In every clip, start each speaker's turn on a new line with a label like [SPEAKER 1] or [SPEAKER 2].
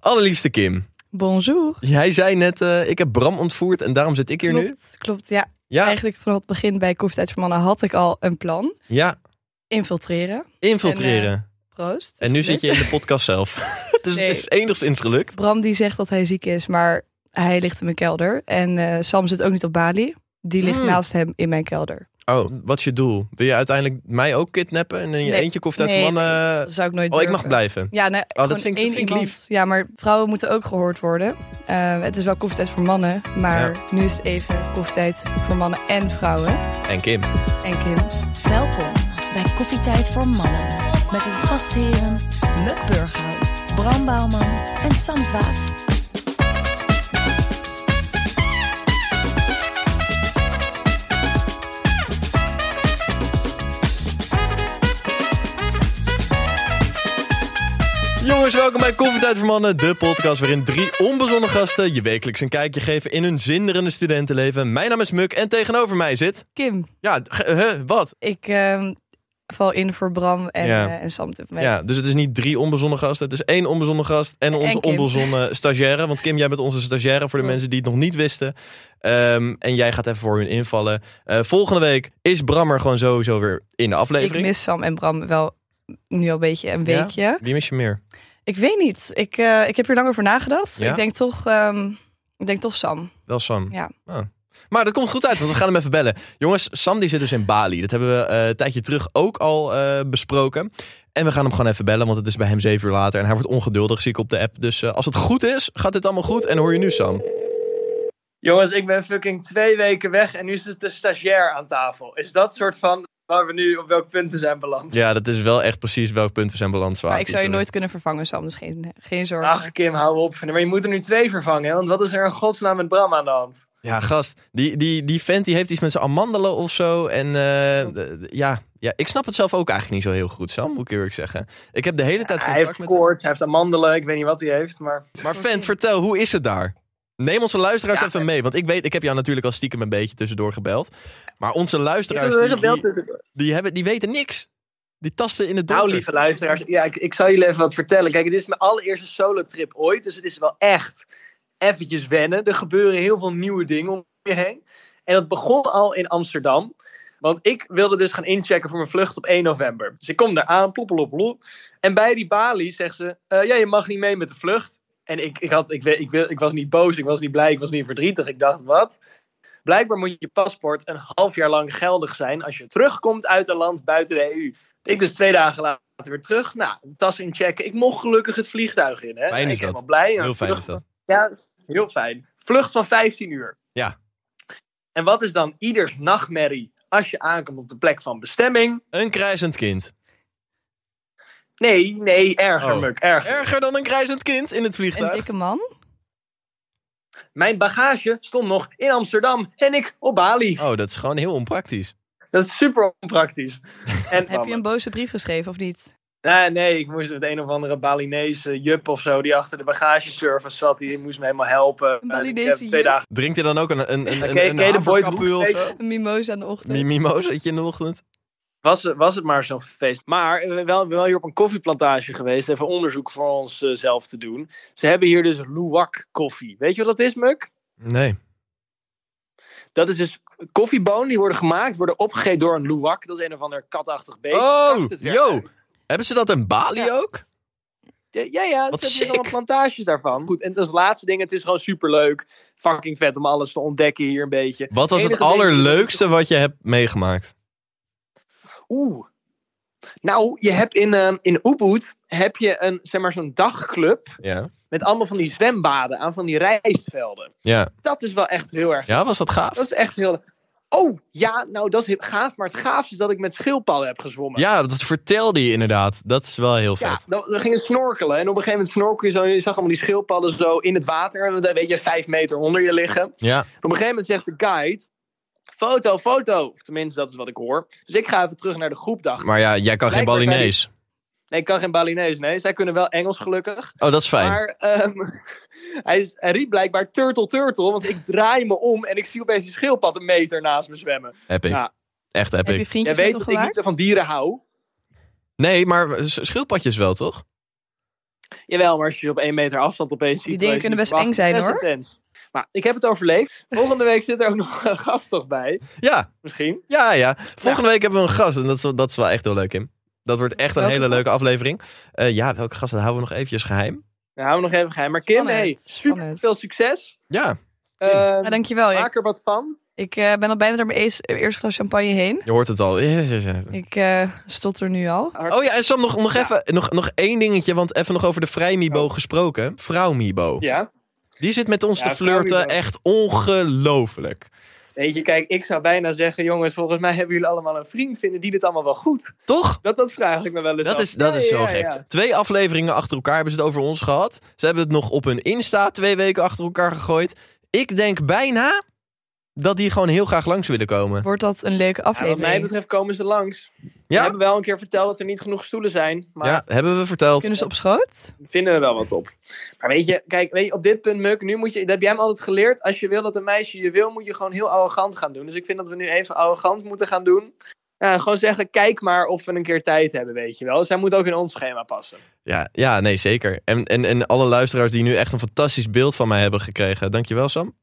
[SPEAKER 1] Allerliefste Kim,
[SPEAKER 2] Bonjour.
[SPEAKER 1] jij zei net, eh, ik heb Bram ontvoerd en daarom zit ik hier nu.
[SPEAKER 2] Klopt, klopt. Ja,
[SPEAKER 1] Ja,
[SPEAKER 2] eigenlijk vanaf het begin bij Koffietijd voor Mannen had ik al een plan.
[SPEAKER 1] ja,
[SPEAKER 2] Infiltreren.
[SPEAKER 1] infiltreren. En,
[SPEAKER 2] Proost.
[SPEAKER 1] nu
[SPEAKER 2] Gelukt.
[SPEAKER 1] zit je in de podcast zelf. dus
[SPEAKER 2] Nee.
[SPEAKER 1] het is enigszins gelukt.
[SPEAKER 2] Bram die zegt dat hij ziek is, maar hij ligt in mijn kelder. En eh, Sam zit ook niet op Bali. Die ligt
[SPEAKER 1] Mm.
[SPEAKER 2] naast hem in mijn kelder.
[SPEAKER 1] Oh, wat is je doel? Wil je uiteindelijk mij ook kidnappen en in je
[SPEAKER 2] Nee.
[SPEAKER 1] eentje koffie uit
[SPEAKER 2] Nee,
[SPEAKER 1] mannen?
[SPEAKER 2] Dat zou ik nooit
[SPEAKER 1] Oh, ik
[SPEAKER 2] durven.
[SPEAKER 1] mag blijven.
[SPEAKER 2] Ja, nee,
[SPEAKER 1] dat
[SPEAKER 2] gewoon
[SPEAKER 1] vind ik-
[SPEAKER 2] één
[SPEAKER 1] vind ik
[SPEAKER 2] iemand.
[SPEAKER 1] lief.
[SPEAKER 2] Ja, maar vrouwen moeten ook gehoord worden. Eh, het is wel koffietijd voor mannen, maar nu is het even koffietijd voor mannen en vrouwen.
[SPEAKER 1] En Kim.
[SPEAKER 2] En Kim.
[SPEAKER 3] Welkom bij Koffietijd voor Mannen. Met uw gastheren Muk Burghout, Bram Bouwman en Sam Zwaaf.
[SPEAKER 1] Jongens, welkom bij Koffietijd voor Mannen, de podcast waarin drie onbezonnen gasten je wekelijks een kijkje geven in hun zinderende studentenleven. Mijn naam is Muk en tegenover mij zit...
[SPEAKER 2] Kim,
[SPEAKER 1] Ja, ge- huh, wat?
[SPEAKER 2] ik ehm, val in voor Bram en,
[SPEAKER 1] Ja.
[SPEAKER 2] eh, en Sam op dit moment.
[SPEAKER 1] Ja, dus het is niet drie onbezonnen gasten, het is één onbezonnen gast en onze
[SPEAKER 2] Kim.
[SPEAKER 1] onbezonnen stagiaire. Want Kim, jij bent onze stagiaire voor de
[SPEAKER 2] Klopt.
[SPEAKER 1] mensen die het nog niet wisten. Ehm, en jij gaat even voor hun invallen. Eh, volgende week is Brammer gewoon sowieso weer in de
[SPEAKER 2] Ik
[SPEAKER 1] aflevering.
[SPEAKER 2] mis Sam en Bram wel nu al een beetje een
[SPEAKER 1] Ja?
[SPEAKER 2] weekje.
[SPEAKER 1] Wie mis je meer?
[SPEAKER 2] Ik weet niet. Ik, eh, ik heb hier langer over nagedacht.
[SPEAKER 1] Ja?
[SPEAKER 2] Ik denk toch... ehm, ik denk toch Sam.
[SPEAKER 1] Wel Sam.
[SPEAKER 2] Ja.
[SPEAKER 1] Oh. Maar dat komt goed uit, want we gaan hem even bellen. Jongens, Sam die zit dus in Bali. Dat hebben we eh, een tijdje terug ook al eh, besproken. En we gaan hem gewoon even bellen, want het is bij hem zeven uur later. En hij wordt ongeduldig, zie ik op de app. Dus eh, als het goed is, gaat dit allemaal goed. En hoor je nu Sam.
[SPEAKER 4] Jongens, ik ben fucking twee weken weg en nu zit de stagiair aan tafel. Is dat soort van waar we nu op welk punt we zijn beland?
[SPEAKER 1] Ja, dat is wel echt precies welk punt we zijn beland.
[SPEAKER 2] Maar ik zou je nooit kunnen vervangen, Sam. Dus geen, geen zorgen.
[SPEAKER 4] Ach, Kim, hou op. Maar je moet er nu twee vervangen, hè? want wat is er in godsnaam met Bram aan de hand?
[SPEAKER 1] Ja, gast, die, die, die vent die heeft iets met zijn amandelen of zo. En eh, d- d- ja, ja, ik snap het zelf ook eigenlijk niet zo heel goed, Sam, moet ik eerlijk zeggen. Ik heb de hele tijd
[SPEAKER 4] hij
[SPEAKER 1] contact
[SPEAKER 4] heeft
[SPEAKER 1] met
[SPEAKER 4] koorts, hij heeft amandelen, ik weet niet wat hij heeft, maar...
[SPEAKER 1] Maar vent, vertel, hoe is het daar? Neem onze luisteraars
[SPEAKER 4] Ja.
[SPEAKER 1] even mee. Want ik weet, ik heb jou natuurlijk al stiekem een beetje tussendoor gebeld. Maar onze luisteraars, die,
[SPEAKER 4] Ja, we hebben gebeld
[SPEAKER 1] die,
[SPEAKER 4] tussendoor.
[SPEAKER 1] die hebben, die weten niks. Die tasten in het
[SPEAKER 4] Nou,
[SPEAKER 1] donker.
[SPEAKER 4] lieve luisteraars, ja, ik, ik zal jullie even wat vertellen. Kijk, het is mijn allereerste solo-trip ooit, dus het is wel echt eventjes wennen. Er gebeuren heel veel nieuwe dingen om je heen. En dat begon al in Amsterdam, want ik wilde dus gaan inchecken voor mijn vlucht op 1 november. Dus ik kom daar aan, ploepeloploep. En bij die balie zegt ze, eh, ja, je mag niet mee met de vlucht. En ik, ik, had, ik, weet- ik, wil- ik was niet boos, ik was niet blij, ik was niet verdrietig. Ik dacht, wat? Blijkbaar moet je paspoort een half jaar lang geldig zijn als je terugkomt uit een land buiten de EU. Ik dus twee dagen later weer terug. Nou, tas inchecken. Ik mocht gelukkig het vliegtuig in. Hè.
[SPEAKER 1] Fijn is dat.
[SPEAKER 4] ik helemaal blij.
[SPEAKER 1] Heel fijn is dat.
[SPEAKER 4] Ja, heel fijn. Vlucht van 15 uur.
[SPEAKER 1] Ja.
[SPEAKER 4] En wat is dan ieders nachtmerrie als je aankomt op de plek van bestemming?
[SPEAKER 1] Een krijzend kind.
[SPEAKER 4] Nee, nee, erger,
[SPEAKER 1] Oh.
[SPEAKER 4] Muk, erger.
[SPEAKER 1] Erger dan een krijzend kind in het
[SPEAKER 2] een
[SPEAKER 1] vliegtuig.
[SPEAKER 2] dikke man?
[SPEAKER 4] Mijn bagage stond nog in Amsterdam en ik op Bali.
[SPEAKER 1] Oh, dat is gewoon heel onpraktisch.
[SPEAKER 4] Dat is super onpraktisch. En
[SPEAKER 2] Heb je een boze brief geschreven of niet?
[SPEAKER 4] Nee, nee, ik moest met een of andere Balinese jup of zo, die achter de bagageservice zat, die moest me helemaal helpen.
[SPEAKER 2] Een Balinese
[SPEAKER 4] En ik heb twee
[SPEAKER 2] jup?
[SPEAKER 4] dagen.
[SPEAKER 1] Drinkt hij dan ook een, een, een,
[SPEAKER 4] Ken-
[SPEAKER 1] een,
[SPEAKER 4] ken
[SPEAKER 1] een
[SPEAKER 4] je de boys
[SPEAKER 1] haverkapuw of
[SPEAKER 4] Boek?
[SPEAKER 1] zo?
[SPEAKER 2] Een mimosa in de ochtend?
[SPEAKER 1] Mi- Mimosaatje in de ochtend?
[SPEAKER 4] Was, het- was het maar zo'n feest. Maar eh, we wel, we wel hier op een koffieplantage geweest, even onderzoek voor onszelf zelf te doen. Ze hebben hier dus luwak koffie. Weet je wat dat is, Muk?
[SPEAKER 1] Nee.
[SPEAKER 4] Dat is dus koffiebonen die worden gemaakt, worden opgegeten door een luwak. Dat is een of ander katachtig beest.
[SPEAKER 1] Oh,
[SPEAKER 4] Pakt het weer
[SPEAKER 1] yo.
[SPEAKER 4] uit.
[SPEAKER 1] Hebben ze dat in Bali
[SPEAKER 4] Ja.
[SPEAKER 1] ook?
[SPEAKER 4] Ja, ja, ja
[SPEAKER 1] Wat
[SPEAKER 4] ze hebben hier
[SPEAKER 1] sick.
[SPEAKER 4] allemaal plantages daarvan. Goed, en als laatste ding, het is gewoon superleuk. Fucking vet om alles te ontdekken hier een beetje.
[SPEAKER 1] Wat was het
[SPEAKER 4] Enige ding-
[SPEAKER 1] allerleukste wat je hebt meegemaakt?
[SPEAKER 4] Oeh. Nou, je hebt in, ehm in Ubud heb je een, zeg maar, zo'n dagclub
[SPEAKER 1] Ja.
[SPEAKER 4] met allemaal van die zwembaden aan van die rijstvelden.
[SPEAKER 1] Ja,
[SPEAKER 4] Dat is wel echt heel erg.
[SPEAKER 1] ja was dat gaaf?
[SPEAKER 4] Dat is echt heel. Oh, ja, nou dat is heel gaaf. Maar het gaafste is dat ik met schildpadden heb gezwommen.
[SPEAKER 1] Ja, dat vertelde je inderdaad. Dat is wel heel
[SPEAKER 4] Ja,
[SPEAKER 1] vet.
[SPEAKER 4] dan, dan ging het snorkelen. En op een gegeven moment snorkel je zo. en Je zag allemaal die schildpadden zo in het water. En dan weet je, vijf meter onder je liggen. En
[SPEAKER 1] Ja.
[SPEAKER 4] op een gegeven moment zegt de guide: foto, foto. Of tenminste, dat is wat ik hoor. Dus ik ga even terug naar de groepdag.
[SPEAKER 1] Maar ja, jij kan geen
[SPEAKER 4] Blijkbaar zijn
[SPEAKER 1] Balinees.
[SPEAKER 4] Nee, ik kan geen Balinees, nee. Zij kunnen wel Engels, gelukkig.
[SPEAKER 1] Oh, dat is fijn.
[SPEAKER 4] Maar ehm, hij, is- hij riep blijkbaar turtle, turtle. Want ik draai me om en ik zie opeens die schildpad een meter naast me zwemmen.
[SPEAKER 1] epic.
[SPEAKER 4] ja.
[SPEAKER 1] Echt
[SPEAKER 2] Heb
[SPEAKER 1] epic.
[SPEAKER 2] je
[SPEAKER 4] Jij
[SPEAKER 2] vriendjes
[SPEAKER 4] weet
[SPEAKER 2] met
[SPEAKER 4] dat
[SPEAKER 2] hem
[SPEAKER 4] ik niet
[SPEAKER 2] gemaakt?
[SPEAKER 4] zo van dieren hou.
[SPEAKER 1] Nee, maar s- schildpadjes wel, toch?
[SPEAKER 4] Jawel, maar als je ze op één meter afstand opeens
[SPEAKER 2] Die
[SPEAKER 4] ziet...
[SPEAKER 2] dingen
[SPEAKER 4] terwijl je
[SPEAKER 2] kunnen
[SPEAKER 4] ze niet
[SPEAKER 2] best
[SPEAKER 4] verwacht,
[SPEAKER 2] eng zijn,
[SPEAKER 4] is
[SPEAKER 2] hoor.
[SPEAKER 4] intens. Maar ik heb het overleefd. Volgende week zit er ook nog een gast toch bij.
[SPEAKER 1] Ja,
[SPEAKER 4] Misschien.
[SPEAKER 1] ja, ja. Volgende week hebben we een gast. En dat is, wel- dat is wel echt heel leuk, Kim. Dat wordt echt een
[SPEAKER 4] Welke
[SPEAKER 1] hele leuke
[SPEAKER 4] gast?
[SPEAKER 1] aflevering. Eh, ja, welke gast? Dat houden we nog eventjes geheim.
[SPEAKER 4] Nou, houden we nog even geheim. Maar Kim,
[SPEAKER 2] Spannend,
[SPEAKER 4] hey, super
[SPEAKER 2] spannend.
[SPEAKER 4] veel succes.
[SPEAKER 1] Ja,
[SPEAKER 4] Eh,
[SPEAKER 2] Ja, dankjewel. Ja,
[SPEAKER 4] maak er wat van.
[SPEAKER 2] ik eh, ben al bijna door mijn ees- eh, eerste glas champagne heen.
[SPEAKER 1] je hoort het al. Ja, ja, ja.
[SPEAKER 2] Ik eh stotter nu al.
[SPEAKER 1] Oh ja, en Sam, nog, nog even nog, nog één dingetje. Want even nog over de vrijmibo gesproken. Vrouw Mibo.
[SPEAKER 4] Ja.
[SPEAKER 1] Die zit met ons
[SPEAKER 4] Ja,
[SPEAKER 1] te flirten.
[SPEAKER 4] vrouwmibo.
[SPEAKER 1] Echt ongelooflijk.
[SPEAKER 4] Weet je, kijk, ik zou bijna zeggen, jongens, volgens mij hebben jullie allemaal een vriend. Vinden die dit allemaal wel goed?
[SPEAKER 1] Toch?
[SPEAKER 4] Dat, dat vraag ik me wel eens
[SPEAKER 1] Dat
[SPEAKER 4] af.
[SPEAKER 1] is, dat
[SPEAKER 4] Ja,
[SPEAKER 1] is
[SPEAKER 4] ja,
[SPEAKER 1] zo
[SPEAKER 4] ja,
[SPEAKER 1] gek.
[SPEAKER 4] ja.
[SPEAKER 1] Twee afleveringen achter elkaar hebben ze het over ons gehad. Ze hebben het nog op hun Insta twee weken achter elkaar gegooid. Ik denk bijna dat die gewoon heel graag langs willen komen.
[SPEAKER 2] Wordt dat een leuke
[SPEAKER 4] Ja, wat
[SPEAKER 2] aflevering?
[SPEAKER 4] mij betreft komen ze langs. We
[SPEAKER 1] Ja,
[SPEAKER 4] hebben wel een keer verteld dat er niet genoeg stoelen zijn. Maar
[SPEAKER 1] ja hebben we verteld.
[SPEAKER 2] Kunnen ze op schoot?
[SPEAKER 4] vinden we wel wat op. Maar weet je, kijk, weet je, op dit punt, Muk, nu moet je, dat heb jij hem altijd geleerd. Als je wil dat een meisje je wil, moet je gewoon heel arrogant gaan doen. Dus ik vind dat we nu even arrogant moeten gaan doen. Ja, gewoon zeggen, kijk maar of we een keer tijd hebben, weet je wel. Zij moet ook in ons schema passen.
[SPEAKER 1] Ja, ja, nee, zeker. En, en, en alle luisteraars die nu echt een fantastisch beeld van mij hebben gekregen. Dankjewel, Sam.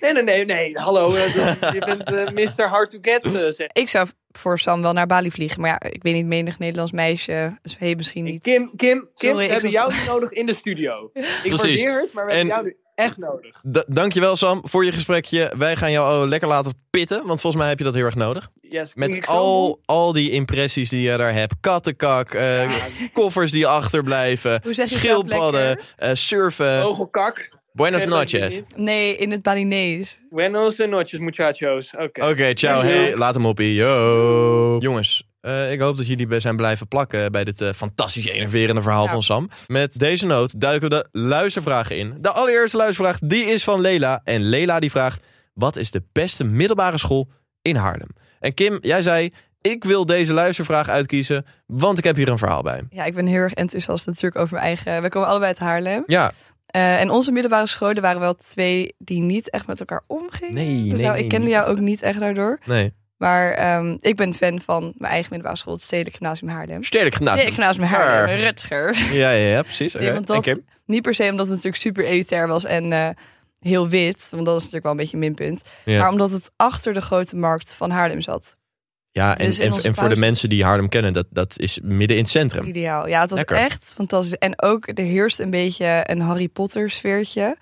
[SPEAKER 4] Nee, nee, nee, nee, hallo. eh, dat- je bent eh, Mr. Hard to Get, eh, zeg.
[SPEAKER 2] Ik zou voor Sam wel naar Bali vliegen. Maar ja, ik weet niet, menig Nederlands meisje. Dus hey, misschien niet.
[SPEAKER 4] Kim, Kim, Kim,
[SPEAKER 2] Sorry,
[SPEAKER 4] we
[SPEAKER 2] ik
[SPEAKER 4] hebben
[SPEAKER 2] was-
[SPEAKER 4] jou niet nodig in de studio. Ik
[SPEAKER 1] Precies.
[SPEAKER 4] waardeer het, maar we hebben
[SPEAKER 1] En-
[SPEAKER 4] jou nu echt nodig.
[SPEAKER 1] D- dankjewel, Sam, voor je gesprekje. Wij gaan jou lekker laten pitten, want volgens mij heb je dat heel erg nodig.
[SPEAKER 4] Yes, klink ik
[SPEAKER 1] Met
[SPEAKER 4] zo moe?
[SPEAKER 1] al, al die impressies die je daar hebt. Kattenkak, eh, koffers die achterblijven,
[SPEAKER 2] Hoe zeg je dat
[SPEAKER 1] schildpadden,
[SPEAKER 2] lekker?
[SPEAKER 1] eh, surfen.
[SPEAKER 4] Vogelkak.
[SPEAKER 1] Buenos
[SPEAKER 4] Oh, Eh, dat weet ik
[SPEAKER 1] noches.
[SPEAKER 4] niet.
[SPEAKER 2] Nee, in het Balinees.
[SPEAKER 4] Buenos noches, muchachos. Oké.
[SPEAKER 1] Oké, ciao.
[SPEAKER 4] Dankjewel.
[SPEAKER 1] Hey, laat hem op. Yo. Jongens, eh, ik hoop dat jullie bij zijn blijven plakken bij dit eh, fantastisch enerverende verhaal
[SPEAKER 2] Ja.
[SPEAKER 1] van Sam. Met deze noot duiken we de luistervragen in. De allereerste luistervraag, die is van Lela. En Lela die vraagt, wat is de beste middelbare school in Haarlem? En Kim, jij zei, ik wil deze luistervraag uitkiezen, want ik heb hier een verhaal bij.
[SPEAKER 2] Ja, ik ben heel erg enthousiast natuurlijk over mijn eigen... We komen allebei uit Haarlem.
[SPEAKER 1] Ja,
[SPEAKER 2] Eh, en onze middelbare scholen waren wel twee die niet echt met elkaar omgingen.
[SPEAKER 1] nee,
[SPEAKER 2] dus
[SPEAKER 1] nee,
[SPEAKER 2] nou,
[SPEAKER 1] nee,
[SPEAKER 2] ik kende
[SPEAKER 1] niet.
[SPEAKER 2] jou ook niet echt daardoor.
[SPEAKER 1] Nee.
[SPEAKER 2] Maar ehm, ik ben fan van mijn eigen middelbare school, het Stedelijk Gymnasium Haarlem.
[SPEAKER 1] Sterk gedaan.
[SPEAKER 2] Stedelijk Gymnasium Haarlem,
[SPEAKER 1] Arr.
[SPEAKER 2] Rutger.
[SPEAKER 1] Nou, Ja, ja, ja, precies.
[SPEAKER 2] Ja,
[SPEAKER 1] Oké.
[SPEAKER 2] want
[SPEAKER 1] En
[SPEAKER 2] dat-
[SPEAKER 1] Kim?
[SPEAKER 2] Niet per se omdat het natuurlijk super elitair was en eh, heel wit, want dat is natuurlijk wel een beetje een minpunt.
[SPEAKER 1] Ja.
[SPEAKER 2] Maar omdat het achter de grote markt van Haarlem zat.
[SPEAKER 1] Ja, en,
[SPEAKER 2] Dus in
[SPEAKER 1] en,
[SPEAKER 2] onze
[SPEAKER 1] en voor de
[SPEAKER 2] pauze-
[SPEAKER 1] mensen die Haarlem kennen, dat, dat is midden in het centrum.
[SPEAKER 2] Ideaal. Ja, het was
[SPEAKER 1] Lekker.
[SPEAKER 2] echt fantastisch. En ook er heerst een beetje een Harry Potter sfeertje.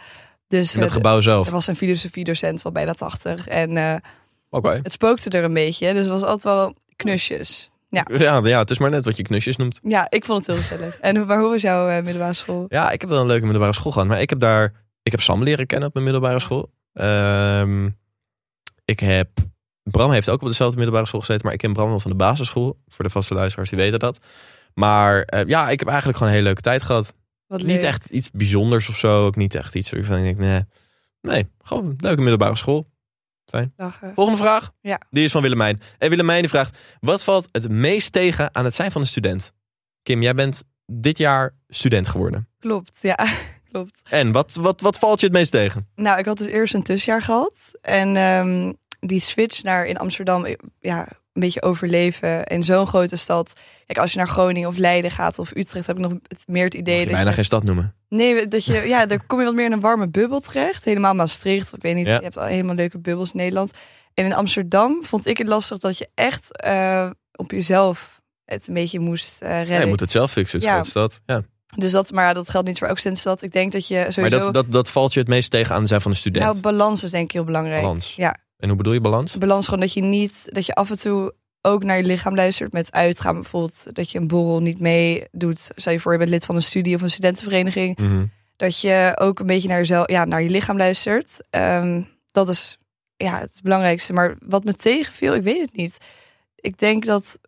[SPEAKER 2] Dus
[SPEAKER 1] In dat
[SPEAKER 2] eh,
[SPEAKER 1] gebouw zelf.
[SPEAKER 2] er was een filosofiedocent van bijna 80 en eh,
[SPEAKER 1] Oké.
[SPEAKER 2] het spookte er een beetje. Dus het was altijd wel knusjes. Ja.
[SPEAKER 1] Ja, ja, het is maar net wat je knusjes noemt.
[SPEAKER 2] Ja, ik vond het heel gezellig. en waar hoe was jouw eh, middelbare school?
[SPEAKER 1] Ja, ik heb wel een leuke middelbare school gehad. Maar ik heb daar... Ik heb Sam leren kennen op mijn middelbare school. Ehm, ik heb... Bram heeft ook op dezelfde middelbare school gezeten. Maar ik ken Bram wel van de basisschool. Voor de vaste luisteraars, die weten dat. Maar eh, ja, ik heb eigenlijk gewoon een hele leuke tijd gehad.
[SPEAKER 2] Wat
[SPEAKER 1] Niet
[SPEAKER 2] leuk.
[SPEAKER 1] echt iets bijzonders of zo. Ook niet echt iets waarvan ik denk, nee. Nee, gewoon een leuke middelbare school.
[SPEAKER 2] Lachen.
[SPEAKER 1] Volgende vraag.
[SPEAKER 2] Ja.
[SPEAKER 1] Die is van Willemijn. En Willemijn die vraagt: wat valt het meest tegen aan het zijn van een student? Kim, jij bent dit jaar student geworden.
[SPEAKER 2] Klopt, ja. Klopt.
[SPEAKER 1] En wat, wat, wat valt je het meest tegen?
[SPEAKER 2] Nou, ik had dus eerst een tussenjaar gehad. En ehm, die switch naar in Amsterdam, eh, ja, een beetje overleven in zo'n grote stad. Kijk, als je naar Groningen of Leiden gaat of Utrecht, heb ik nog het, meer het
[SPEAKER 1] Mag
[SPEAKER 2] idee
[SPEAKER 1] je
[SPEAKER 2] dat
[SPEAKER 1] bijna
[SPEAKER 2] je,
[SPEAKER 1] geen stad noemen.
[SPEAKER 2] Nee, dat je, ja, daar kom je wat meer in een warme bubbel terecht. Helemaal Maastricht, ik weet niet,
[SPEAKER 1] Ja.
[SPEAKER 2] je hebt al helemaal leuke bubbels in Nederland. En in Amsterdam vond ik het lastig dat je echt eh, op jezelf het een beetje moest eh, redden.
[SPEAKER 1] Ja, je moet het zelf fixen. Het is
[SPEAKER 2] Ja.
[SPEAKER 1] een grote stad. Ja.
[SPEAKER 2] Dus dat, maar ja, dat geldt niet voor elk stad. Ik denk dat je sowieso...
[SPEAKER 1] Maar dat, dat, dat valt je het meest tegen aan het zijn van een student.
[SPEAKER 2] Nou, balans is denk ik heel belangrijk.
[SPEAKER 1] balans.
[SPEAKER 2] Ja. Nou,
[SPEAKER 1] En hoe bedoel je balans?
[SPEAKER 2] Balans gewoon dat je niet, dat je af en toe ook naar je lichaam luistert met uitgaan. Bijvoorbeeld dat je een borrel niet meedoet. Stel je voor, je bent lid van een studie of een studentenvereniging.
[SPEAKER 1] Mhm.
[SPEAKER 2] Dat je ook een beetje naar jezelf, ja, naar je lichaam luistert. Ehm, dat is ja, het belangrijkste. Maar wat me tegenviel, ik weet het niet. Ik denk dat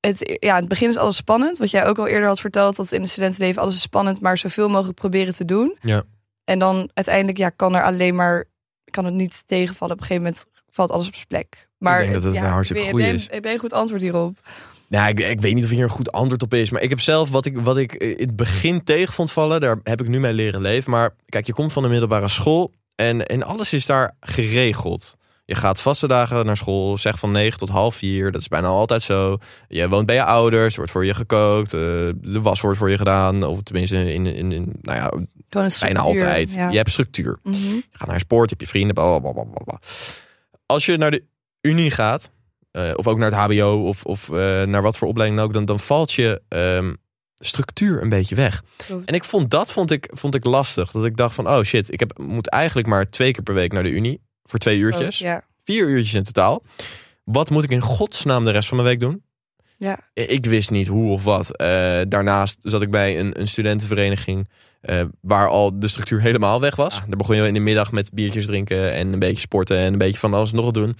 [SPEAKER 2] het, ja, in het begin is alles spannend. Wat jij ook al eerder had verteld, dat in het studentenleven alles is spannend, maar zoveel mogelijk proberen te doen.
[SPEAKER 1] Ja.
[SPEAKER 2] En dan uiteindelijk ja, kan er alleen maar kan het niet tegenvallen. Op een gegeven moment valt alles op zijn plek. Maar
[SPEAKER 1] denk dat het
[SPEAKER 2] ja,
[SPEAKER 1] een hartstikke
[SPEAKER 2] heb jij-
[SPEAKER 1] goeie
[SPEAKER 2] heb jij- Heb jij een goed antwoord hierop?
[SPEAKER 1] Nou, ik, ik weet niet of hier een goed antwoord op is. Maar ik heb zelf wat ik, wat ik eh, in het begin tegen vond vallen. Daar heb ik nu mee leren leven. Maar kijk, je komt van de middelbare school. En, en alles is daar geregeld. Je gaat vaste dagen naar school, zeg van 9 tot half 4. Dat is bijna altijd zo. Je woont bij je ouders, er wordt voor je gekookt, eh, de was wordt voor je gedaan. Of tenminste, in, in, in, nou ja,
[SPEAKER 2] Gewoon een
[SPEAKER 1] bijna
[SPEAKER 2] structuur,
[SPEAKER 1] altijd.
[SPEAKER 2] Ja.
[SPEAKER 1] Je hebt structuur.
[SPEAKER 2] Mhm.
[SPEAKER 1] Je gaat naar sport, je hebt je vrienden, bla bla bla bla, bla. Als je naar de Unie gaat, eh, of ook naar het HBO, of, of eh, naar wat voor opleiding dan ook, dan, dan valt je ehm, structuur een beetje weg.
[SPEAKER 2] Klopt.
[SPEAKER 1] En ik vond dat vond ik, vond ik lastig. Dat ik dacht van, oh shit, ik heb, moet eigenlijk maar twee keer per week naar de Unie. Voor twee uurtjes.
[SPEAKER 2] Ja.
[SPEAKER 1] Vier uurtjes in totaal. Wat moet ik in godsnaam de rest van mijn week doen?
[SPEAKER 2] Ja.
[SPEAKER 1] I- Ik wist niet hoe of wat. Eh, daarnaast zat ik bij een, een studentenvereniging eh, waar al de structuur helemaal weg was. Daar begon je in de middag met biertjes drinken en een beetje sporten en een beetje van alles en nog wat doen.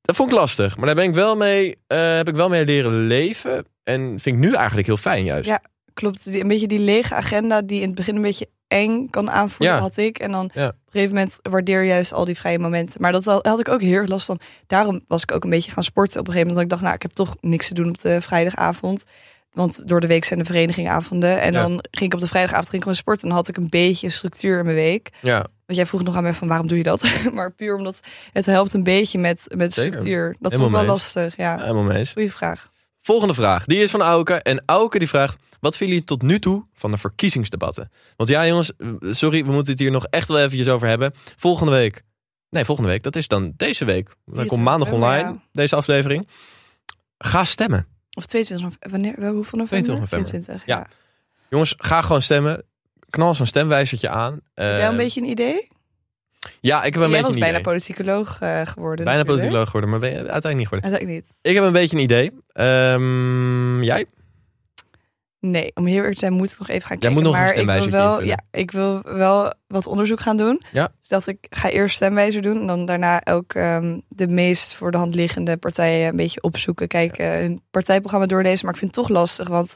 [SPEAKER 1] Dat vond ik lastig, maar daar ben ik wel mee, eh, heb ik wel mee leren leven. En vind ik nu eigenlijk heel fijn juist.
[SPEAKER 2] Ja. Klopt, die, een beetje die lege agenda die in het begin een beetje eng kan aanvoelen,
[SPEAKER 1] Ja.
[SPEAKER 2] had ik. En dan
[SPEAKER 1] Ja.
[SPEAKER 2] op een gegeven moment waardeer je juist al die vrije momenten. Maar dat al- had ik ook heel erg last van. Daarom was ik ook een beetje gaan sporten op een gegeven moment. Dat ik dacht, nou, ik heb toch niks te doen op de vrijdagavond. Want door de week zijn de verenigingavonden. En
[SPEAKER 1] Ja.
[SPEAKER 2] dan ging ik op de vrijdagavond ging ik gewoon sporten. En dan had ik een beetje structuur in mijn week.
[SPEAKER 1] Ja.
[SPEAKER 2] Want jij vroeg nog aan mij van waarom doe je dat? maar puur omdat het helpt een beetje met, met
[SPEAKER 1] Zeker.
[SPEAKER 2] structuur.
[SPEAKER 1] Helemaal
[SPEAKER 2] Dat vond ik wel
[SPEAKER 1] mee eens.
[SPEAKER 2] lastig, ja.
[SPEAKER 1] helemaal mee eens.
[SPEAKER 2] Goeie vraag.
[SPEAKER 1] Volgende vraag, die is van Auke. En Auke die vraagt, wat vinden jullie tot nu toe van de verkiezingsdebatten? Want ja jongens, eh, sorry, we moeten het hier nog echt wel eventjes over hebben. Volgende week, nee volgende week, dat is dan deze week. Dan komt
[SPEAKER 2] 24
[SPEAKER 1] maandag
[SPEAKER 2] november,
[SPEAKER 1] online, deze aflevering. Ga stemmen.
[SPEAKER 2] Of 22 november. Wanneer? wel, Hoeveel november?
[SPEAKER 1] 22 november.
[SPEAKER 2] 22,
[SPEAKER 1] Ja. Jongens, ga gewoon stemmen. Knal zo'n stemwijzertje aan. Eh,
[SPEAKER 2] Heb jij een beetje een idee?
[SPEAKER 1] Ja, ik heb een
[SPEAKER 2] jij
[SPEAKER 1] beetje
[SPEAKER 2] was
[SPEAKER 1] een
[SPEAKER 2] bijna
[SPEAKER 1] idee.
[SPEAKER 2] politicoloog eh, geworden.
[SPEAKER 1] Bijna
[SPEAKER 2] natuurlijk.
[SPEAKER 1] politicoloog geworden, maar ben je uiteindelijk niet geworden.
[SPEAKER 2] Uiteindelijk niet.
[SPEAKER 1] Ik heb een beetje een idee. Ehm, jij?
[SPEAKER 2] Nee, om heel eerlijk te zijn moet ik nog even gaan
[SPEAKER 1] Jij
[SPEAKER 2] kijken.
[SPEAKER 1] moet nog een
[SPEAKER 2] maar ik wil,
[SPEAKER 1] stemwijzertje
[SPEAKER 2] wel, ja,
[SPEAKER 1] invullen.
[SPEAKER 2] ik wil wel wat onderzoek gaan doen.
[SPEAKER 1] Ja.
[SPEAKER 2] Dus dat ik ga eerst stemwijzer doen. En dan daarna ook ehm, de meest voor de hand liggende partijen een beetje opzoeken. Kijken, hun partijprogramma doorlezen. Maar ik vind het toch lastig, want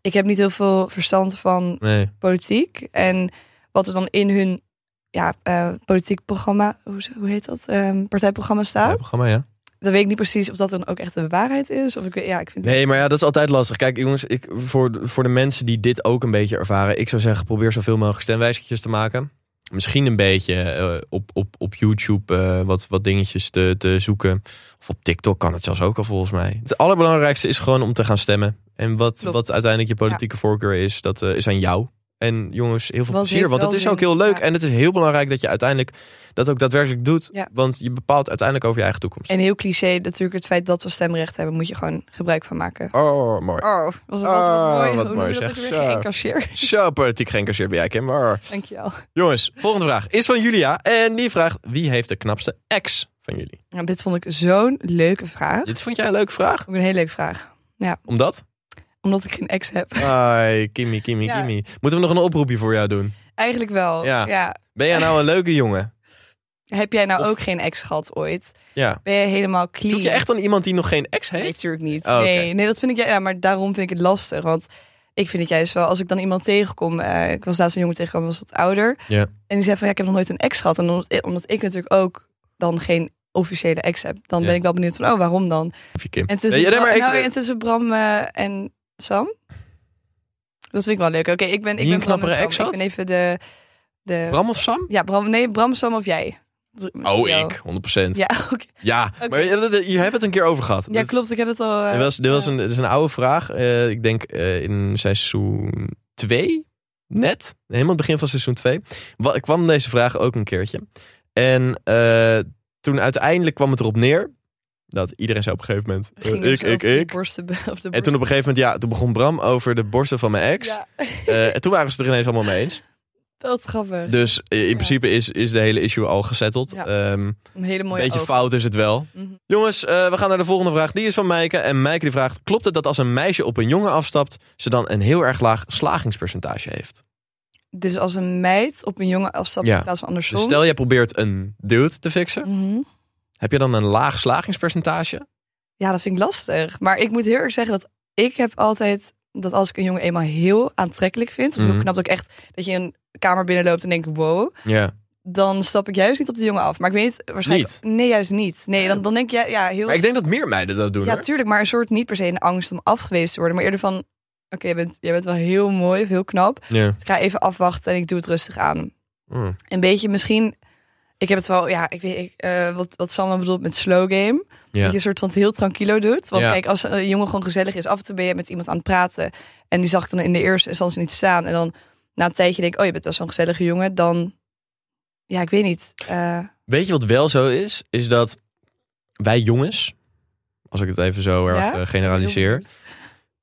[SPEAKER 2] ik heb niet heel veel verstand van
[SPEAKER 1] Nee.
[SPEAKER 2] politiek. En wat er dan in hun ja, eh, politiek programma, hoe, ze- hoe heet dat? Ehm, partijprogramma staat.
[SPEAKER 1] Programma, ja.
[SPEAKER 2] Dan weet ik niet precies of dat dan ook echt de waarheid is. Of ik, weet- ja, ik vind
[SPEAKER 1] Nee, maar ja, dat is altijd lastig. Kijk, jongens, ik, voor, de- voor de mensen die dit ook een beetje ervaren, ik zou zeggen, probeer zoveel mogelijk stemwijzertjes te maken. Misschien een beetje eh, op, op, op YouTube eh, wat, wat dingetjes te, te zoeken. Of op TikTok kan het zelfs ook al volgens mij. Het allerbelangrijkste is gewoon om te gaan stemmen. En wat,
[SPEAKER 2] Klopt.
[SPEAKER 1] wat uiteindelijk je politieke voorkeur is, dat eh, is aan jou. En jongens, heel veel
[SPEAKER 2] Want het
[SPEAKER 1] plezier.
[SPEAKER 2] heeft
[SPEAKER 1] Want
[SPEAKER 2] wel
[SPEAKER 1] het is
[SPEAKER 2] zin,
[SPEAKER 1] ook heel leuk.
[SPEAKER 2] ja.
[SPEAKER 1] En het is heel belangrijk dat je uiteindelijk dat ook daadwerkelijk doet.
[SPEAKER 2] Ja.
[SPEAKER 1] Want je bepaalt uiteindelijk over je eigen toekomst.
[SPEAKER 2] En heel cliché natuurlijk het feit dat we stemrecht hebben, moet je gewoon gebruik van maken.
[SPEAKER 1] Oh, mooi.
[SPEAKER 2] Oh, was het was
[SPEAKER 1] Oh,
[SPEAKER 2] wat mooi.
[SPEAKER 1] wat
[SPEAKER 2] Hoe
[SPEAKER 1] mooi
[SPEAKER 2] noem je dat ook
[SPEAKER 1] zeg.
[SPEAKER 2] weer
[SPEAKER 1] Zo.
[SPEAKER 2] geëncasseerd?
[SPEAKER 1] Zo politiek geëngageerd ben jij, Kim. Oh. Maar...
[SPEAKER 2] Dankjewel.
[SPEAKER 1] Jongens, volgende vraag is van Julia. En die vraagt: wie heeft de knapste ex van jullie?
[SPEAKER 2] Nou, dit vond ik zo'n leuke vraag.
[SPEAKER 1] Dit vond jij een leuke vraag?
[SPEAKER 2] Ook een hele leuke vraag.
[SPEAKER 1] Omdat?
[SPEAKER 2] Omdat ik geen ex heb.
[SPEAKER 1] Ai, Kimmy, Kimmy,
[SPEAKER 2] Ja.
[SPEAKER 1] Kimmy. Moeten we nog een oproepje voor jou doen?
[SPEAKER 2] Eigenlijk wel.
[SPEAKER 1] Ja.
[SPEAKER 2] Ja.
[SPEAKER 1] Ben jij nou een leuke jongen?
[SPEAKER 2] Heb jij nou
[SPEAKER 1] Of-
[SPEAKER 2] ook geen ex gehad ooit?
[SPEAKER 1] Ja.
[SPEAKER 2] Ben je helemaal clean?
[SPEAKER 1] Zoek je echt aan iemand die nog geen ex
[SPEAKER 2] Nee,
[SPEAKER 1] heeft?
[SPEAKER 2] natuurlijk niet.
[SPEAKER 1] Oh, oké.
[SPEAKER 2] nee, nee, dat vind ik. ju- Ja, maar daarom vind ik het lastig. Want ik vind het juist wel, als ik dan iemand tegenkom. eh, ik was laatst een jongen tegengekomen, was wat ouder.
[SPEAKER 1] Ja.
[SPEAKER 2] En die zei van ja, ik heb nog nooit een ex gehad. En omdat, omdat ik natuurlijk ook dan geen officiële ex heb, dan
[SPEAKER 1] Ja.
[SPEAKER 2] ben ik wel benieuwd van oh, waarom dan?
[SPEAKER 1] Of je Kim?
[SPEAKER 2] En tussen,
[SPEAKER 1] Nee, nee, maar
[SPEAKER 2] Bram,
[SPEAKER 1] ik-
[SPEAKER 2] nou, en tussen Bram eh, en Sam. Dat vind ik wel leuk. Oké, ik ben,
[SPEAKER 1] Wie
[SPEAKER 2] ik ben
[SPEAKER 1] een
[SPEAKER 2] Bram en
[SPEAKER 1] knappere
[SPEAKER 2] Sam.
[SPEAKER 1] ex had?
[SPEAKER 2] Ik ben even de, de
[SPEAKER 1] Bram of Sam?
[SPEAKER 2] ja Bram, nee Bram, Sam of jij?
[SPEAKER 1] Oh,
[SPEAKER 2] Jou.
[SPEAKER 1] ik, 100%. Ja,
[SPEAKER 2] Ja, oké. Oké.
[SPEAKER 1] maar je, dat- je hebt het een keer over gehad.
[SPEAKER 2] ja,
[SPEAKER 1] Dat-
[SPEAKER 2] klopt. Ik heb het al. eh,
[SPEAKER 1] Dit was, dit was
[SPEAKER 2] ja.
[SPEAKER 1] een, dit is een oude vraag. Eh, ik denk eh, in seizoen 2, net, helemaal het begin van seizoen 2, wa- kwam deze vraag ook een keertje. En eh, toen uiteindelijk kwam het erop neer dat iedereen zei op een gegeven moment: eh,
[SPEAKER 2] ging er
[SPEAKER 1] ik,
[SPEAKER 2] zo
[SPEAKER 1] ik,
[SPEAKER 2] over de
[SPEAKER 1] ik.
[SPEAKER 2] borsten be- op de
[SPEAKER 1] En toen op een gegeven moment, ja, toen begon Bram over de borsten van mijn ex.
[SPEAKER 2] Ja,
[SPEAKER 1] Eh, en toen waren ze het er ineens allemaal mee eens.
[SPEAKER 2] dat is grappig.
[SPEAKER 1] Dus eh, in
[SPEAKER 2] Ja.
[SPEAKER 1] principe is, is de hele issue al gesetteld.
[SPEAKER 2] Ja.
[SPEAKER 1] Ehm,
[SPEAKER 2] Een hele mooie
[SPEAKER 1] beetje
[SPEAKER 2] oog.
[SPEAKER 1] fout is het wel.
[SPEAKER 2] Mhm.
[SPEAKER 1] Jongens, eh, we gaan naar de volgende vraag. Die is van Maaike. En Maaike die vraagt: Klopt het dat als een meisje op een jongen afstapt, ze dan een heel erg laag slagingspercentage heeft?
[SPEAKER 2] Dus als een meid op een jongen afstapt
[SPEAKER 1] Ja.
[SPEAKER 2] in plaats van andersom.
[SPEAKER 1] Dus stel jij probeert een dude te fixen,
[SPEAKER 2] Mhm.
[SPEAKER 1] heb je dan een laag slagingspercentage?
[SPEAKER 2] Ja, dat vind ik lastig. Maar ik moet heel erg zeggen dat ik heb altijd dat als ik een jongen eenmaal heel aantrekkelijk vind, of
[SPEAKER 1] Mhm.
[SPEAKER 2] heel knap dat ik echt dat je een kamer binnenloopt en denkt wow,
[SPEAKER 1] Ja.
[SPEAKER 2] dan stap ik juist niet op de jongen af. Maar ik weet niet, waarschijnlijk nee juist niet. Nee, dan, dan denk je ja heel
[SPEAKER 1] Maar ik denk dat meer meiden dat doen.
[SPEAKER 2] ja
[SPEAKER 1] hoor.
[SPEAKER 2] tuurlijk, maar een soort niet per se een angst om afgewezen te worden, maar eerder van oké, jij bent jij bent wel heel mooi of heel knap.
[SPEAKER 1] Ja.
[SPEAKER 2] Dus ik ga even afwachten en ik doe het rustig aan.
[SPEAKER 1] Hm.
[SPEAKER 2] Een beetje misschien. Ik heb het wel, ja, ik weet ik, eh, wat, wat Sam dan bedoelt met slow game.
[SPEAKER 1] Ja.
[SPEAKER 2] Dat je een soort van het heel tranquilo doet. Want
[SPEAKER 1] Ja.
[SPEAKER 2] kijk, als een jongen gewoon gezellig is, af en toe ben je met iemand aan het praten. En die zag ik dan in de eerste instantie niet staan. En dan na een tijdje denk ik, oh, je bent wel zo'n gezellige jongen. Dan, ja, ik weet niet. Eh,
[SPEAKER 1] Weet je wat wel zo is? Is dat wij jongens, als ik het even zo erg
[SPEAKER 2] Ja?
[SPEAKER 1] eh, generaliseer,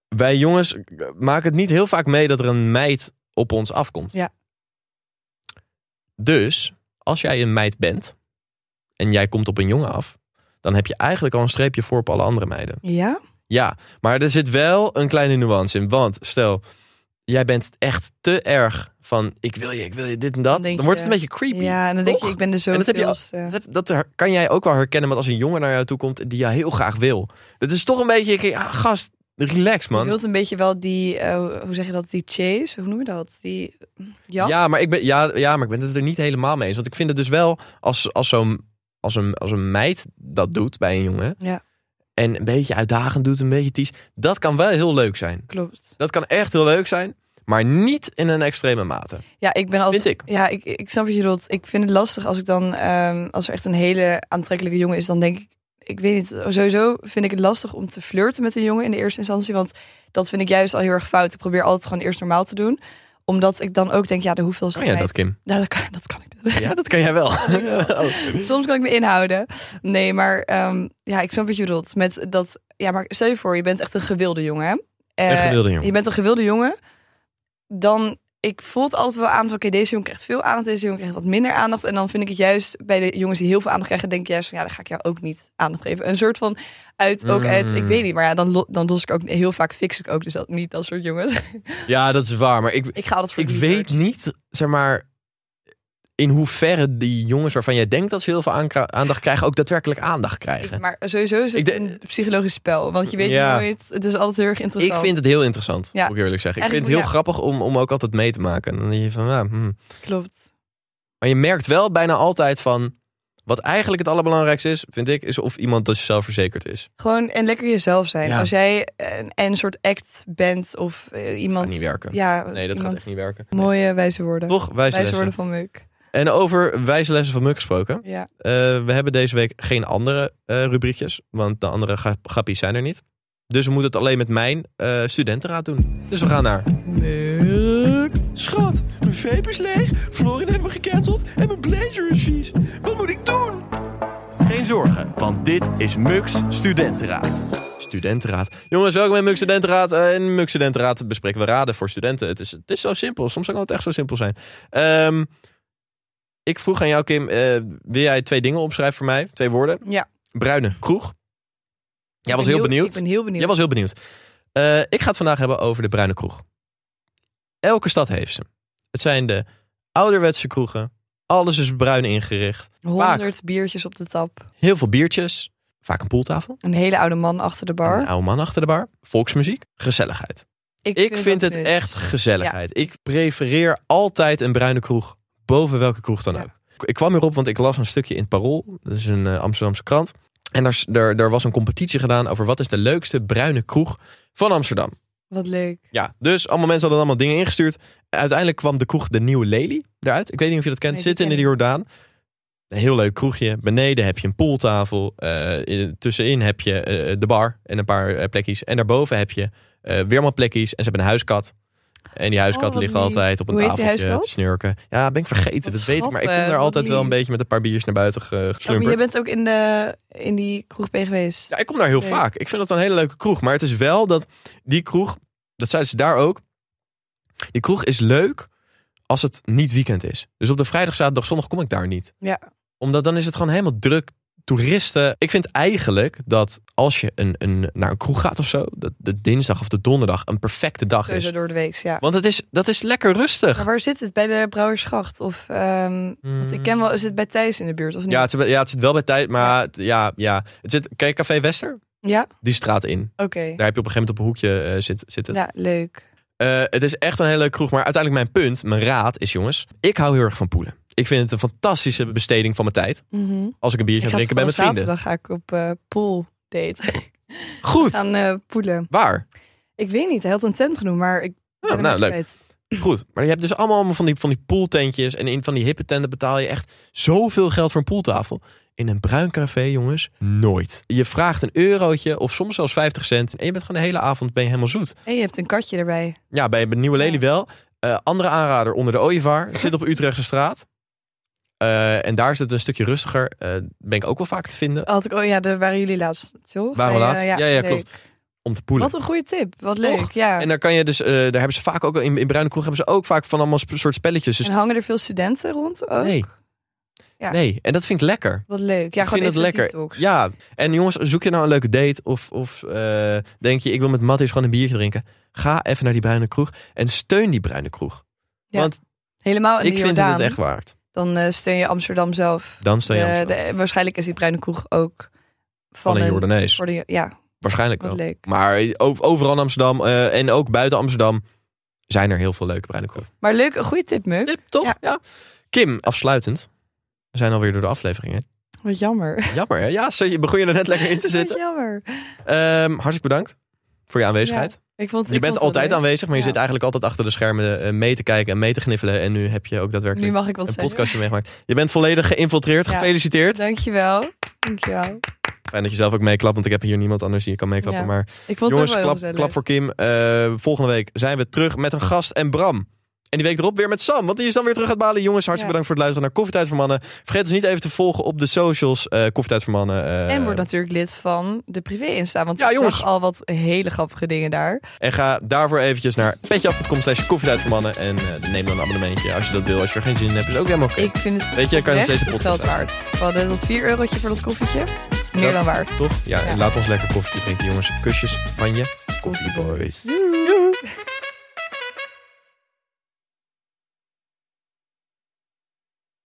[SPEAKER 1] wij jongens eh, maken het niet heel vaak mee dat er een meid op ons afkomt.
[SPEAKER 2] Ja.
[SPEAKER 1] Dus als jij een meid bent en jij komt op een jongen af, dan heb je eigenlijk al een streepje voor op alle andere meiden.
[SPEAKER 2] ja?
[SPEAKER 1] Ja, maar er zit wel een kleine nuance in. Want stel, jij bent echt te erg van ik wil je, ik wil je, dit en dat.
[SPEAKER 2] Dan
[SPEAKER 1] Dan,
[SPEAKER 2] denk
[SPEAKER 1] wordt
[SPEAKER 2] je-
[SPEAKER 1] het een beetje creepy.
[SPEAKER 2] Ja, en dan denk
[SPEAKER 1] Toch?
[SPEAKER 2] je, ik ben de
[SPEAKER 1] En dat heb je al-
[SPEAKER 2] zoveelste.
[SPEAKER 1] Dat, dat her- kan jij ook wel herkennen, want als een jongen naar jou toe komt die jou heel graag wil. Dat is toch een beetje, ik- ah, gast, relax
[SPEAKER 2] Je
[SPEAKER 1] man.
[SPEAKER 2] wilt een beetje wel die, eh, hoe zeg je dat, die chase, hoe noem je dat? Die ja,
[SPEAKER 1] Ja, maar ik ben, ja, ja, maar ik ben het er niet helemaal mee eens. Want ik vind het dus wel, als, als, zo'n, als, een, als een meid dat doet bij een jongen.
[SPEAKER 2] Ja.
[SPEAKER 1] En een beetje uitdagend doet, een beetje ties. Dat kan wel heel leuk zijn.
[SPEAKER 2] klopt.
[SPEAKER 1] Dat kan echt heel leuk zijn. Maar niet in een extreme mate.
[SPEAKER 2] Ja, ik ben altijd...
[SPEAKER 1] Vind
[SPEAKER 2] Ja, ik, ik snap wat je bedoelt. Ik vind het lastig als ik dan, ehm, als er echt een hele aantrekkelijke jongen is, dan denk ik, ik weet niet, sowieso vind ik het lastig om te flirten met een jongen in de eerste instantie, want dat vind ik juist al heel erg fout. Ik probeer altijd gewoon eerst normaal te doen, omdat ik dan ook denk, ja, de hoeveelste
[SPEAKER 1] Kan jij
[SPEAKER 2] meid-
[SPEAKER 1] Oh dat, Kim?
[SPEAKER 2] Ja, Nou, dat kan, dat kan ik. dus.
[SPEAKER 1] Ja, dat kan jij wel.
[SPEAKER 2] Soms kan ik me inhouden. Nee, maar ehm, ja, ik snap wat je bedoelt. Met dat, ja, maar stel je voor, je bent echt een gewilde jongen. Hè?
[SPEAKER 1] Een
[SPEAKER 2] Eh,
[SPEAKER 1] gewilde jongen.
[SPEAKER 2] Je bent een gewilde jongen. Dan, ik voel het altijd wel aan van, oké, deze jongen krijgt veel aandacht, deze jongen krijgt wat minder aandacht. En dan vind ik het juist bij de jongens die heel veel aandacht krijgen, denk ik juist van, ja, dan ga ik jou ook niet aandacht geven. Een soort van uit, ook uit, ik
[SPEAKER 1] Mm.
[SPEAKER 2] weet niet, maar ja, dan, lo- dan los ik ook heel vaak fix ik ook dus dat niet dat soort jongens.
[SPEAKER 1] Ja, dat is waar. Maar ik,
[SPEAKER 2] ik ga altijd voor
[SPEAKER 1] ik
[SPEAKER 2] de
[SPEAKER 1] weet
[SPEAKER 2] lieverds.
[SPEAKER 1] niet, zeg maar, in hoeverre die jongens waarvan jij denkt dat ze heel veel aankra- aandacht krijgen, ook daadwerkelijk aandacht
[SPEAKER 2] Ik-
[SPEAKER 1] krijgen.
[SPEAKER 2] maar sowieso is het
[SPEAKER 1] Ik de-
[SPEAKER 2] een psychologisch spel, want je weet
[SPEAKER 1] Ja.
[SPEAKER 2] nooit. Het is altijd heel erg
[SPEAKER 1] Ik
[SPEAKER 2] interessant.
[SPEAKER 1] vind het heel interessant,
[SPEAKER 2] Ja.
[SPEAKER 1] moet ik eerlijk zeggen. Ik
[SPEAKER 2] Eigenlijk
[SPEAKER 1] vind het heel
[SPEAKER 2] moet-
[SPEAKER 1] grappig om, om ook altijd mee te maken. En dan denk je van, ja, hmm.
[SPEAKER 2] klopt.
[SPEAKER 1] Maar je merkt wel bijna altijd van, wat eigenlijk het allerbelangrijkste is, vind ik, is of iemand dat je zelfverzekerd is.
[SPEAKER 2] Gewoon en lekker jezelf zijn.
[SPEAKER 1] Ja.
[SPEAKER 2] Als jij een, een soort act bent of eh,
[SPEAKER 1] Kan
[SPEAKER 2] iemand.
[SPEAKER 1] niet werken.
[SPEAKER 2] Ja,
[SPEAKER 1] nee, dat gaat
[SPEAKER 2] iemand-
[SPEAKER 1] echt niet werken.
[SPEAKER 2] Mooie wijze woorden.
[SPEAKER 1] Toch, wijze
[SPEAKER 2] wijze
[SPEAKER 1] lessen.
[SPEAKER 2] woorden van Muk.
[SPEAKER 1] En over wijze lessen van Muk gesproken.
[SPEAKER 2] Ja.
[SPEAKER 1] Eh, we hebben deze week geen andere eh, rubriekjes, want de andere grap- grappies zijn er niet. Dus we moeten het alleen met mijn eh, studentenraad doen. Dus we gaan naar... Schat, mijn vape is leeg, Florin heeft me gecanceld en mijn blazer is vies. Wat moet ik doen? Geen zorgen, want dit is Mux Studentenraad. Studentenraad. Jongens, welkom bij Mux Studentenraad. Eh, in Mux Studentenraad bespreken we raden voor studenten. Het is, het is zo simpel, soms kan het echt zo simpel zijn. Ehm, ik vroeg aan jou, Kim, eh, wil jij twee dingen opschrijven voor mij? Twee woorden.
[SPEAKER 2] Ja.
[SPEAKER 1] Bruine kroeg. Jij
[SPEAKER 2] Ik
[SPEAKER 1] was
[SPEAKER 2] ben
[SPEAKER 1] heel benieuwd.
[SPEAKER 2] Ik ben heel benieuwd.
[SPEAKER 1] Jij was heel benieuwd. Eh, ik ga het vandaag hebben over de Bruine Kroeg. Elke stad heeft ze. Het zijn de ouderwetse kroegen. Alles is bruin ingericht.
[SPEAKER 2] 100 biertjes op de tap.
[SPEAKER 1] Heel veel biertjes. Vaak een poeltafel.
[SPEAKER 2] Een hele oude man achter de bar.
[SPEAKER 1] Een oude man achter de bar. Volksmuziek. Gezelligheid. Ik vind,
[SPEAKER 2] dat
[SPEAKER 1] het
[SPEAKER 2] dus.
[SPEAKER 1] echt gezelligheid. Ik prefereer altijd een bruine kroeg boven welke kroeg dan
[SPEAKER 2] Ja.
[SPEAKER 1] ook. Ik- Ik kwam hierop, want ik las een stukje in het Parool. Dat is een eh, Amsterdamse krant. En daar, s- daar, daar was een competitie gedaan over wat is de leukste bruine kroeg van Amsterdam.
[SPEAKER 2] Wat leuk.
[SPEAKER 1] Ja, dus allemaal mensen hadden allemaal dingen ingestuurd. Uiteindelijk kwam de kroeg De Nieuwe Lely eruit. Ik weet niet of je dat kent.
[SPEAKER 2] Nee, die
[SPEAKER 1] Zitten in
[SPEAKER 2] ken
[SPEAKER 1] de
[SPEAKER 2] ik.
[SPEAKER 1] Jordaan. Een heel leuk kroegje. Beneden heb je een pooltafel. Eh, in- tussenin heb je eh, de bar en een paar eh, plekjes. En daarboven heb je eh weer allemaal plekjes. En ze hebben een huiskat. En die huiskat
[SPEAKER 2] Oh, wat
[SPEAKER 1] ligt
[SPEAKER 2] lief.
[SPEAKER 1] altijd op een
[SPEAKER 2] Hoe heet die
[SPEAKER 1] tafeltje
[SPEAKER 2] huiskat?
[SPEAKER 1] te snurken. Ja, ben ik vergeten.
[SPEAKER 2] Wat
[SPEAKER 1] dat weet ik. Maar ik kom
[SPEAKER 2] schattig,
[SPEAKER 1] daar
[SPEAKER 2] wat
[SPEAKER 1] altijd wel een
[SPEAKER 2] lief.
[SPEAKER 1] beetje met een paar biertjes naar buiten ge-
[SPEAKER 2] Oh, maar
[SPEAKER 1] geslumperd.
[SPEAKER 2] jij bent ook in, de, in die kroeg ben je geweest.
[SPEAKER 1] Ja, ik kom daar heel
[SPEAKER 2] Leuk.
[SPEAKER 1] vaak. Ik vind dat een hele leuke kroeg. Maar het is wel dat die kroeg, dat zeiden ze daar ook. Die kroeg is leuk als het niet weekend is. Dus op de vrijdag, zaterdag, zondag kom ik daar niet.
[SPEAKER 2] Ja.
[SPEAKER 1] Omdat dan is het gewoon helemaal druk. Toeristen. Ik vind eigenlijk dat als je een, een, naar een kroeg gaat of zo, dat de dinsdag of de donderdag een perfecte dag
[SPEAKER 2] Sowieso
[SPEAKER 1] is.
[SPEAKER 2] door de week, ja.
[SPEAKER 1] Want het is, dat is lekker rustig. Mm.
[SPEAKER 2] Maar waar zit het? Bij de Brouwersgracht? Of, ehm, want ik ken wel, is het bij Thijs in de buurt of niet?
[SPEAKER 1] Ja, het, zit- ja, het zit wel bij tijd, maar het- ja, ja. Het zit, ken je Café Wester?
[SPEAKER 2] Ja?
[SPEAKER 1] Die straat in.
[SPEAKER 2] Oké.
[SPEAKER 1] Daar heb je op een gegeven moment op een hoekje eh, zit, zitten.
[SPEAKER 2] Ja, leuk.
[SPEAKER 1] Eh, het is echt een hele leuke kroeg. Maar uiteindelijk mijn punt, mijn raad is jongens. Ik hou heel erg van poelen. Ik vind het een fantastische besteding van mijn tijd.
[SPEAKER 2] Mhm.
[SPEAKER 1] Als ik een biertje
[SPEAKER 2] Ik
[SPEAKER 1] ga
[SPEAKER 2] ga
[SPEAKER 1] drinken ben met
[SPEAKER 2] toevallig
[SPEAKER 1] vrienden.
[SPEAKER 2] Zaterdag ga ik op eh pool date
[SPEAKER 1] Goed.
[SPEAKER 2] gaan eh poelen.
[SPEAKER 1] Waar? Oh,
[SPEAKER 2] Ik weet niet, hij had een tent genoemd, maar ik
[SPEAKER 1] nou,
[SPEAKER 2] ben hem echt
[SPEAKER 1] leuk.
[SPEAKER 2] kwijt.
[SPEAKER 1] Goed, maar je hebt dus allemaal, allemaal van die, van die pooltentjes. En in van die hippe tenten betaal je echt zoveel geld voor een pooltafel. In een bruin café, jongens, nooit. Je vraagt een eurotje of soms zelfs 50 cent. En je bent gewoon de hele avond ben je helemaal zoet.
[SPEAKER 2] En je hebt een katje erbij.
[SPEAKER 1] Ja, bij bij Nieuwe Lely
[SPEAKER 2] Ja.
[SPEAKER 1] wel. Eh, andere aanrader onder de Ooievaar. Het zit op Utrechtse straat. Eh, en daar is het een stukje rustiger. Eh, ben ik ook wel vaak te vinden.
[SPEAKER 2] Had ik, oh ja, daar waren jullie laatst, toch?
[SPEAKER 1] Waren we
[SPEAKER 2] Bij, eh,
[SPEAKER 1] laatst? Ja, ja,
[SPEAKER 2] leuk.
[SPEAKER 1] klopt. Om te poelen.
[SPEAKER 2] Wat een goede tip. Wat
[SPEAKER 1] Toch?
[SPEAKER 2] leuk, ja.
[SPEAKER 1] En daar kan je dus, eh, daar hebben ze vaak ook in, in Bruine Kroeg hebben ze ook vaak van allemaal sp- soort spelletjes. Dus
[SPEAKER 2] En hangen er veel studenten rond ook?
[SPEAKER 1] nee.
[SPEAKER 2] Ja.
[SPEAKER 1] Nee, en dat vind ik lekker.
[SPEAKER 2] Wat leuk. Ja,
[SPEAKER 1] ik vind
[SPEAKER 2] gewoon
[SPEAKER 1] het
[SPEAKER 2] even
[SPEAKER 1] lekker.
[SPEAKER 2] detox.
[SPEAKER 1] Ja, en jongens, zoek je nou een leuke date of, of eh, denk je, ik wil met Matthijs gewoon een biertje drinken. Ga even naar die Bruine Kroeg en steun die Bruine Kroeg.
[SPEAKER 2] Ja,
[SPEAKER 1] Want
[SPEAKER 2] Helemaal in
[SPEAKER 1] ik
[SPEAKER 2] de
[SPEAKER 1] vind
[SPEAKER 2] Jordaan.
[SPEAKER 1] het echt waard.
[SPEAKER 2] Dan eh, steun je Amsterdam zelf.
[SPEAKER 1] Dan steun je
[SPEAKER 2] Eh,
[SPEAKER 1] Amsterdam.
[SPEAKER 2] de- waarschijnlijk is die bruine kroeg ook van,
[SPEAKER 1] van een Jordanees.
[SPEAKER 2] voor de- ja,
[SPEAKER 1] Waarschijnlijk
[SPEAKER 2] wat
[SPEAKER 1] wel.
[SPEAKER 2] leuk.
[SPEAKER 1] Maar o- overal in Amsterdam eh, en ook buiten Amsterdam zijn er heel veel leuke bruine kroegen.
[SPEAKER 2] Maar leuk, een goede tip, Muk.
[SPEAKER 1] toch? Ja.
[SPEAKER 2] Ja.
[SPEAKER 1] Kim, afsluitend. We zijn alweer door de aflevering. Hè?
[SPEAKER 2] Wat jammer.
[SPEAKER 1] Jammer hè? Ja, zo, je begon je er net lekker in te zitten.
[SPEAKER 2] Wat jammer.
[SPEAKER 1] Ehm, hartelijk bedankt voor je aanwezigheid.
[SPEAKER 2] Ik vond,
[SPEAKER 1] je bent altijd
[SPEAKER 2] aan
[SPEAKER 1] aanwezig, maar je
[SPEAKER 2] Ja.
[SPEAKER 1] zit eigenlijk altijd achter de schermen eh, mee te kijken en mee te gniffelen. En nu heb je ook
[SPEAKER 2] Nu
[SPEAKER 1] daadwerkelijk
[SPEAKER 2] mag ik wat
[SPEAKER 1] een
[SPEAKER 2] zeggen.
[SPEAKER 1] podcastje meegemaakt. Je bent volledig geïnfiltreerd.
[SPEAKER 2] Ja.
[SPEAKER 1] Gefeliciteerd.
[SPEAKER 2] Dankjewel. Dankjewel.
[SPEAKER 1] Fijn dat je zelf ook meeklapt, want ik heb hier niemand anders die je kan meeklappen.
[SPEAKER 2] Ja.
[SPEAKER 1] Maar
[SPEAKER 2] Ik vond
[SPEAKER 1] Jongens,
[SPEAKER 2] het
[SPEAKER 1] klap,
[SPEAKER 2] ook wel heel gezellig.
[SPEAKER 1] klap voor Kim. Eh, volgende week zijn we terug met een gast en Bram. En die week erop weer met Sam, want die is dan weer terug uit Bali. Jongens, hartstikke
[SPEAKER 2] Ja.
[SPEAKER 1] bedankt voor het luisteren naar Koffietijd voor Mannen. Vergeet ons niet even te volgen op de socials. eh Koffietijd voor Mannen. eh,
[SPEAKER 2] En word natuurlijk lid van de privé instaan. Want
[SPEAKER 1] Ja,
[SPEAKER 2] ik
[SPEAKER 1] jongens.
[SPEAKER 2] zag al wat hele grappige dingen daar.
[SPEAKER 1] en ga daarvoor eventjes naar petjeaf.com slash koffietijd voor mannen. En eh, neem dan een abonnementje als je dat wil. Als je er geen zin in hebt, is ook helemaal oké.
[SPEAKER 2] Ik vind het
[SPEAKER 1] Weet je, kan je nog
[SPEAKER 2] oprecht
[SPEAKER 1] steeds de
[SPEAKER 2] het
[SPEAKER 1] podcast
[SPEAKER 2] geld waard. We hadden dat 4 eurotje voor dat koffietje. Meer
[SPEAKER 1] Dat-
[SPEAKER 2] dan waard.
[SPEAKER 1] Toch? Ja,
[SPEAKER 2] Ja.
[SPEAKER 1] en laat ons lekker koffietje drinken, jongens. Kusjes van je koffieboys.
[SPEAKER 2] Doei.